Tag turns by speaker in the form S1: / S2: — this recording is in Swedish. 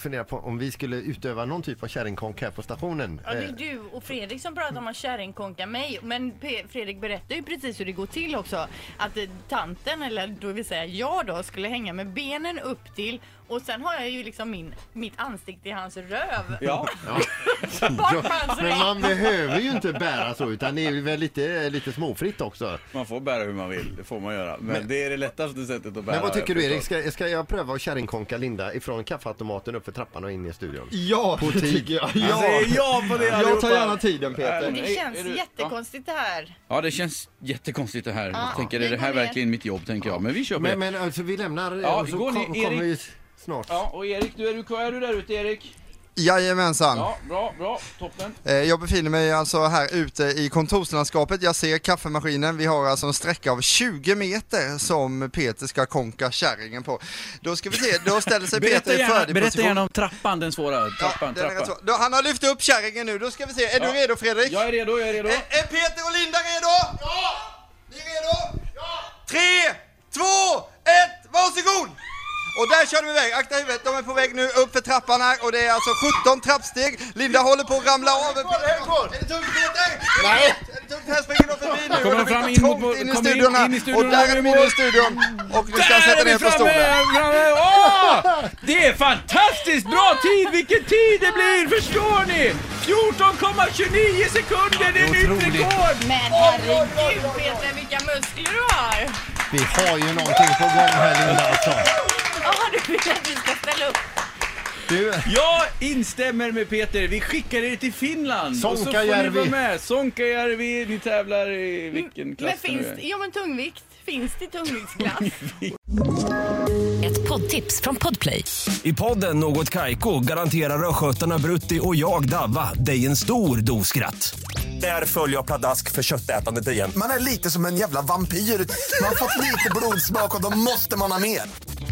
S1: funderar på om vi skulle utöva någon typ av kärringkonk här på stationen.
S2: Ja, det
S1: Eh,
S2: är du och Fredrik som pratar om att kärringkonka mig. Men P- Fredrik berättar ju precis hur det går till också. Att eh, tanten, eller då vill säga jag då, skulle hänga med benen upp till och sen har jag ju liksom min, mitt ansikte i hans röv.
S3: Ja.
S1: ja,
S2: Bort med hans
S1: men
S2: röv!
S1: man behöver ju inte bära så utan det är väl lite, lite småfritt också.
S3: Man får bära hur man vill, det får man göra. Men, det är det lättaste sättet att bära.
S1: Men vad tycker du
S3: jag
S1: Erik,
S3: förstår.
S1: ska, ska jag pröva att kärringkonka Linda ifrån kaffeautomaten upp för trappan och in i studion?
S4: Ja, det tycker jag.
S3: Alltså, Jag
S4: Ja.
S3: säger ja på det
S4: Jag
S3: allihopa. Äh,
S4: tar gärna tiden
S5: Äh,
S4: Peter.
S2: Det
S3: Är-
S2: känns
S3: är du-
S2: jättekonstigt det här.
S3: Ja, det känns jättekonstigt det här.
S2: Ja.
S3: jag tänker,
S2: Vi
S3: är det här
S2: går ner.
S3: verkligen mitt jobb? Tänker jag. Men vi kör på
S1: Men,
S3: det.
S1: men alltså, vi lämnar eh,
S3: Ja,
S1: och så
S3: går ni,
S1: kom, kommer
S3: Erik?
S1: vi s- snart.
S3: Ja, och Erik, du, är, du, är du där ute Erik?
S5: Jajamensan.
S3: Ja, bra, bra, toppen.
S5: Eh, Jag befinner mig alltså här ute i kontorslandskapet. Jag ser kaffemaskinen. Vi har alltså en sträcka av 20 meter som Peter ska konka kärringen på. Då ska vi se, då ställer sig Peter
S3: Berätta
S5: i
S3: gärna, berätta
S5: färdigposition.
S3: gärna om trappan, den svåra. Trappan,
S5: den är rätt
S3: trappan.
S5: svår. Då, han har lyft upp kärringen nu. Då ska vi se. Är
S3: Ja.
S5: du redo Fredrik?
S3: Jag är redo, jag är redo.
S5: Är, är Peter och Linda redo? Ja! Ni är redo? Ja! Tre, två, ett, varsågod! Och där körde vi iväg, akta huvudet, de är på väg nu upp för trappan här och det är alltså 17 trappsteg. Linda håller på att ramla av. Är det tungt Peter? Nej! Är det tungt? Här springer de förbi nu.
S3: Kommer
S5: och
S3: de
S5: det
S3: fram
S5: blir
S3: in mot-
S5: trångt in, i
S3: kommer in-
S5: studion här.
S3: in i studion
S5: Och där
S3: och
S5: är
S3: vi
S5: de inne i studion. Och vi ska sätta ner på stolen.
S3: framme! eh, Åh! Det är fantastiskt bra tid! Vilken tid det blir, förstår ni? 14,29 sekunder, det är nytt rekord!
S2: Men herregud Peter, vilka muskler du har!
S1: Vi har ju någonting på gång här Linda alltså.
S2: Jaha, du vill att vi ska ställa upp?
S1: Du,
S3: Jag instämmer med Peter, vi skickar er till Finland! Och så får ni
S1: Sonkajärvi.
S3: vara med. Sonkajärvi, ni tävlar i vilken klass
S2: Men finns det, ja men tungvikt, finns det tungviktsklass?
S6: Ett poddtips från Podplay.
S7: I podden Något Kaiko garanterar östgötarna Brutti och jag, Davva, dig en stor dos skratt. Där följer jag pladask för köttätandet igen.
S8: Man är lite som en jävla vampyr. Man har fått lite blodsmak och då måste man ha mer.